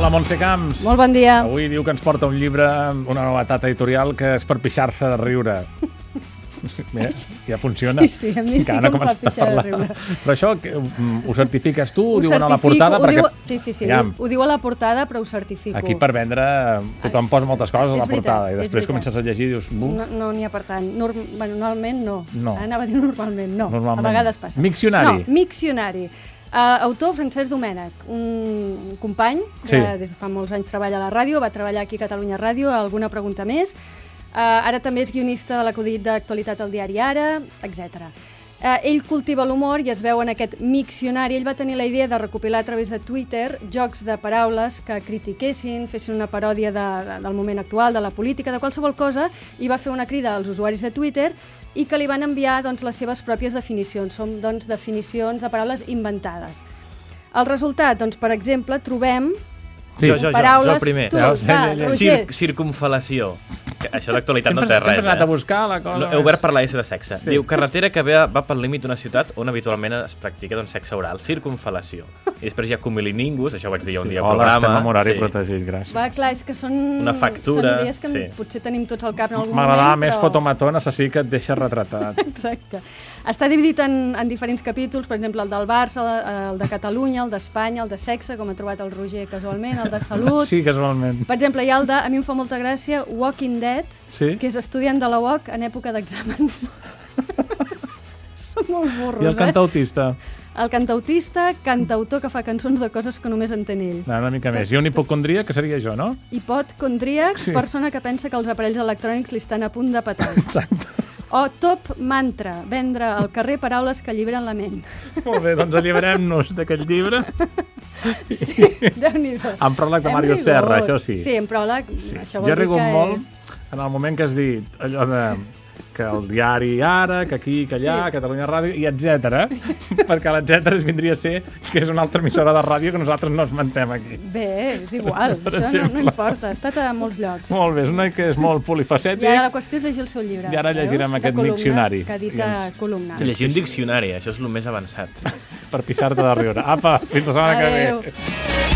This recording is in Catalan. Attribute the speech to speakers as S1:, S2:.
S1: la Montse Camps.
S2: Molt bon dia.
S1: Avui diu que ens porta un llibre amb una novetat editorial que és per pixar-se de riure. Mira, ja funciona.
S2: Sí, sí, a mi sí
S1: Encara
S2: que em fa
S1: començat a
S2: pixar de
S1: parlar.
S2: riure.
S1: Però això que, mm, ho certifiques tu, ho
S2: Ho
S1: diuen a la
S2: certifico,
S1: portada,
S2: ho
S1: perquè
S2: Diu, sí, sí, sí,
S1: Aviam.
S2: ho diu a la portada, però ho certifico.
S1: aquí per vendre eh, tothom
S2: És-
S1: posa moltes coses a
S2: és
S1: la portada
S2: veritat,
S1: i
S2: és
S1: després
S2: veritat.
S1: comences a llegir i dius... "Buf,
S2: No no n'hi ha per tant. Norm bueno, normalment no.
S1: No.
S2: Ara Anava a dir normalment, no.
S1: Normalment.
S2: A vegades passa.
S1: Miccionari.
S2: No, miccionari. Uh, autor Francesc Domènech, un company
S1: Sí.
S2: que des de fa molts anys treballa a la ràdio, va treballar aquí a Catalunya Ràdio, alguna pregunta més. Uh, ara també és guionista de l'acudit d'actualitat al diari Ara, etc. Uh, ell cultiva l'humor i es veu en aquest miccionari. Ell va tenir la idea de recopilar a través de Twitter jocs de paraules que critiquessin, fessin una paròdia de, de, del moment actual, de la política, de qualsevol cosa, i va fer una crida als usuaris de Twitter i que li van enviar doncs, les seves pròpies definicions. Són doncs, definicions de paraules inventades. El resultat, doncs, per exemple, trobem
S1: Sí.
S3: Jo, jo, jo, jo
S2: paraules...
S3: el primer.
S2: Tu,
S1: Ja,
S2: ja,
S1: ja,
S2: ja,
S1: ja, ja.
S2: Roger,
S3: Cir circunfalació. Que Això d'actualitat no
S1: sempre
S3: té
S1: sempre
S3: res,
S1: has anat a
S3: eh?
S1: buscar la cosa.
S3: No, he obert per la S de sexe.
S1: Sí.
S3: Sí. Diu, carretera que ve, va pel límit d'una ciutat on habitualment es practica doncs, sexe oral, circunfalació. I després hi ha comilingus, això ho vaig dir jo un dia al
S1: Hola,
S3: programa.
S1: estem amb horari protegit, gràcies.
S2: va, clar, és que són...
S3: Una factura,
S2: Són idees que
S3: sí.
S2: potser tenim tots al cap en algun moment,
S1: M'agradava més
S2: però...
S1: fotomatón assassí que et deixa retratat.
S2: Exacte. Està dividit en, en diferents capítols, per exemple, el del Barça, el de Catalunya, el d'Espanya, el de sexe, com ha trobat el Roger casualment, el de salut...
S1: Sí, casualment.
S2: Per exemple, hi ha el de, a mi em fa molta gràcia, Walking Dead,
S1: Sí?
S2: que és estudiant de la UOC en època d'exàmens. Són molt burros,
S1: I el cantautista?
S2: eh? El cantautista, cantautor que fa cançons de coses que només entén ell.
S1: No, una mica més. I un hipocondria, que seria jo, no?
S2: Hipocondríac,
S1: Sí.
S2: sí. persona que pensa que els aparells electrònics li estan a punt de petar.
S1: Exacte.
S2: O top mantra, vendre al carrer paraules que alliberen la ment.
S1: Molt bé, doncs alliberem-nos d'aquest llibre.
S2: Sí, Déu-n'hi-do.
S1: Amb pròleg de
S2: Hem
S1: Mario
S2: rigut.
S1: Serra, això sí.
S2: Sí, en pròleg, sí. això vol
S1: jo he
S2: dir
S1: rigut
S2: que
S1: molt
S2: és...
S1: en el moment que has dit allò de que el diari ara, que aquí, que allà,
S2: Sí.
S1: Catalunya Ràdio, i etc. perquè l'etcètera es vindria a ser que és una altra emissora de ràdio que nosaltres no esmentem aquí.
S2: Bé, és igual,
S1: Per
S2: això no,
S1: exemple.
S2: no importa, ha estat a molts llocs.
S1: Molt bé, és una que és molt
S2: I ara la
S1: polifacètic.
S2: qüestió és llegir el seu llibre.
S1: I ara
S2: veus?
S1: llegirem
S2: De
S1: aquest
S2: columna,
S1: miccionari.
S2: Que ha dit
S1: I
S2: a
S1: ens-
S2: columna.
S3: Sí, llegir un diccionari, això és el més avançat.
S1: per pixar-te de riure. Apa, fins la setmana que ve.
S2: Adéu.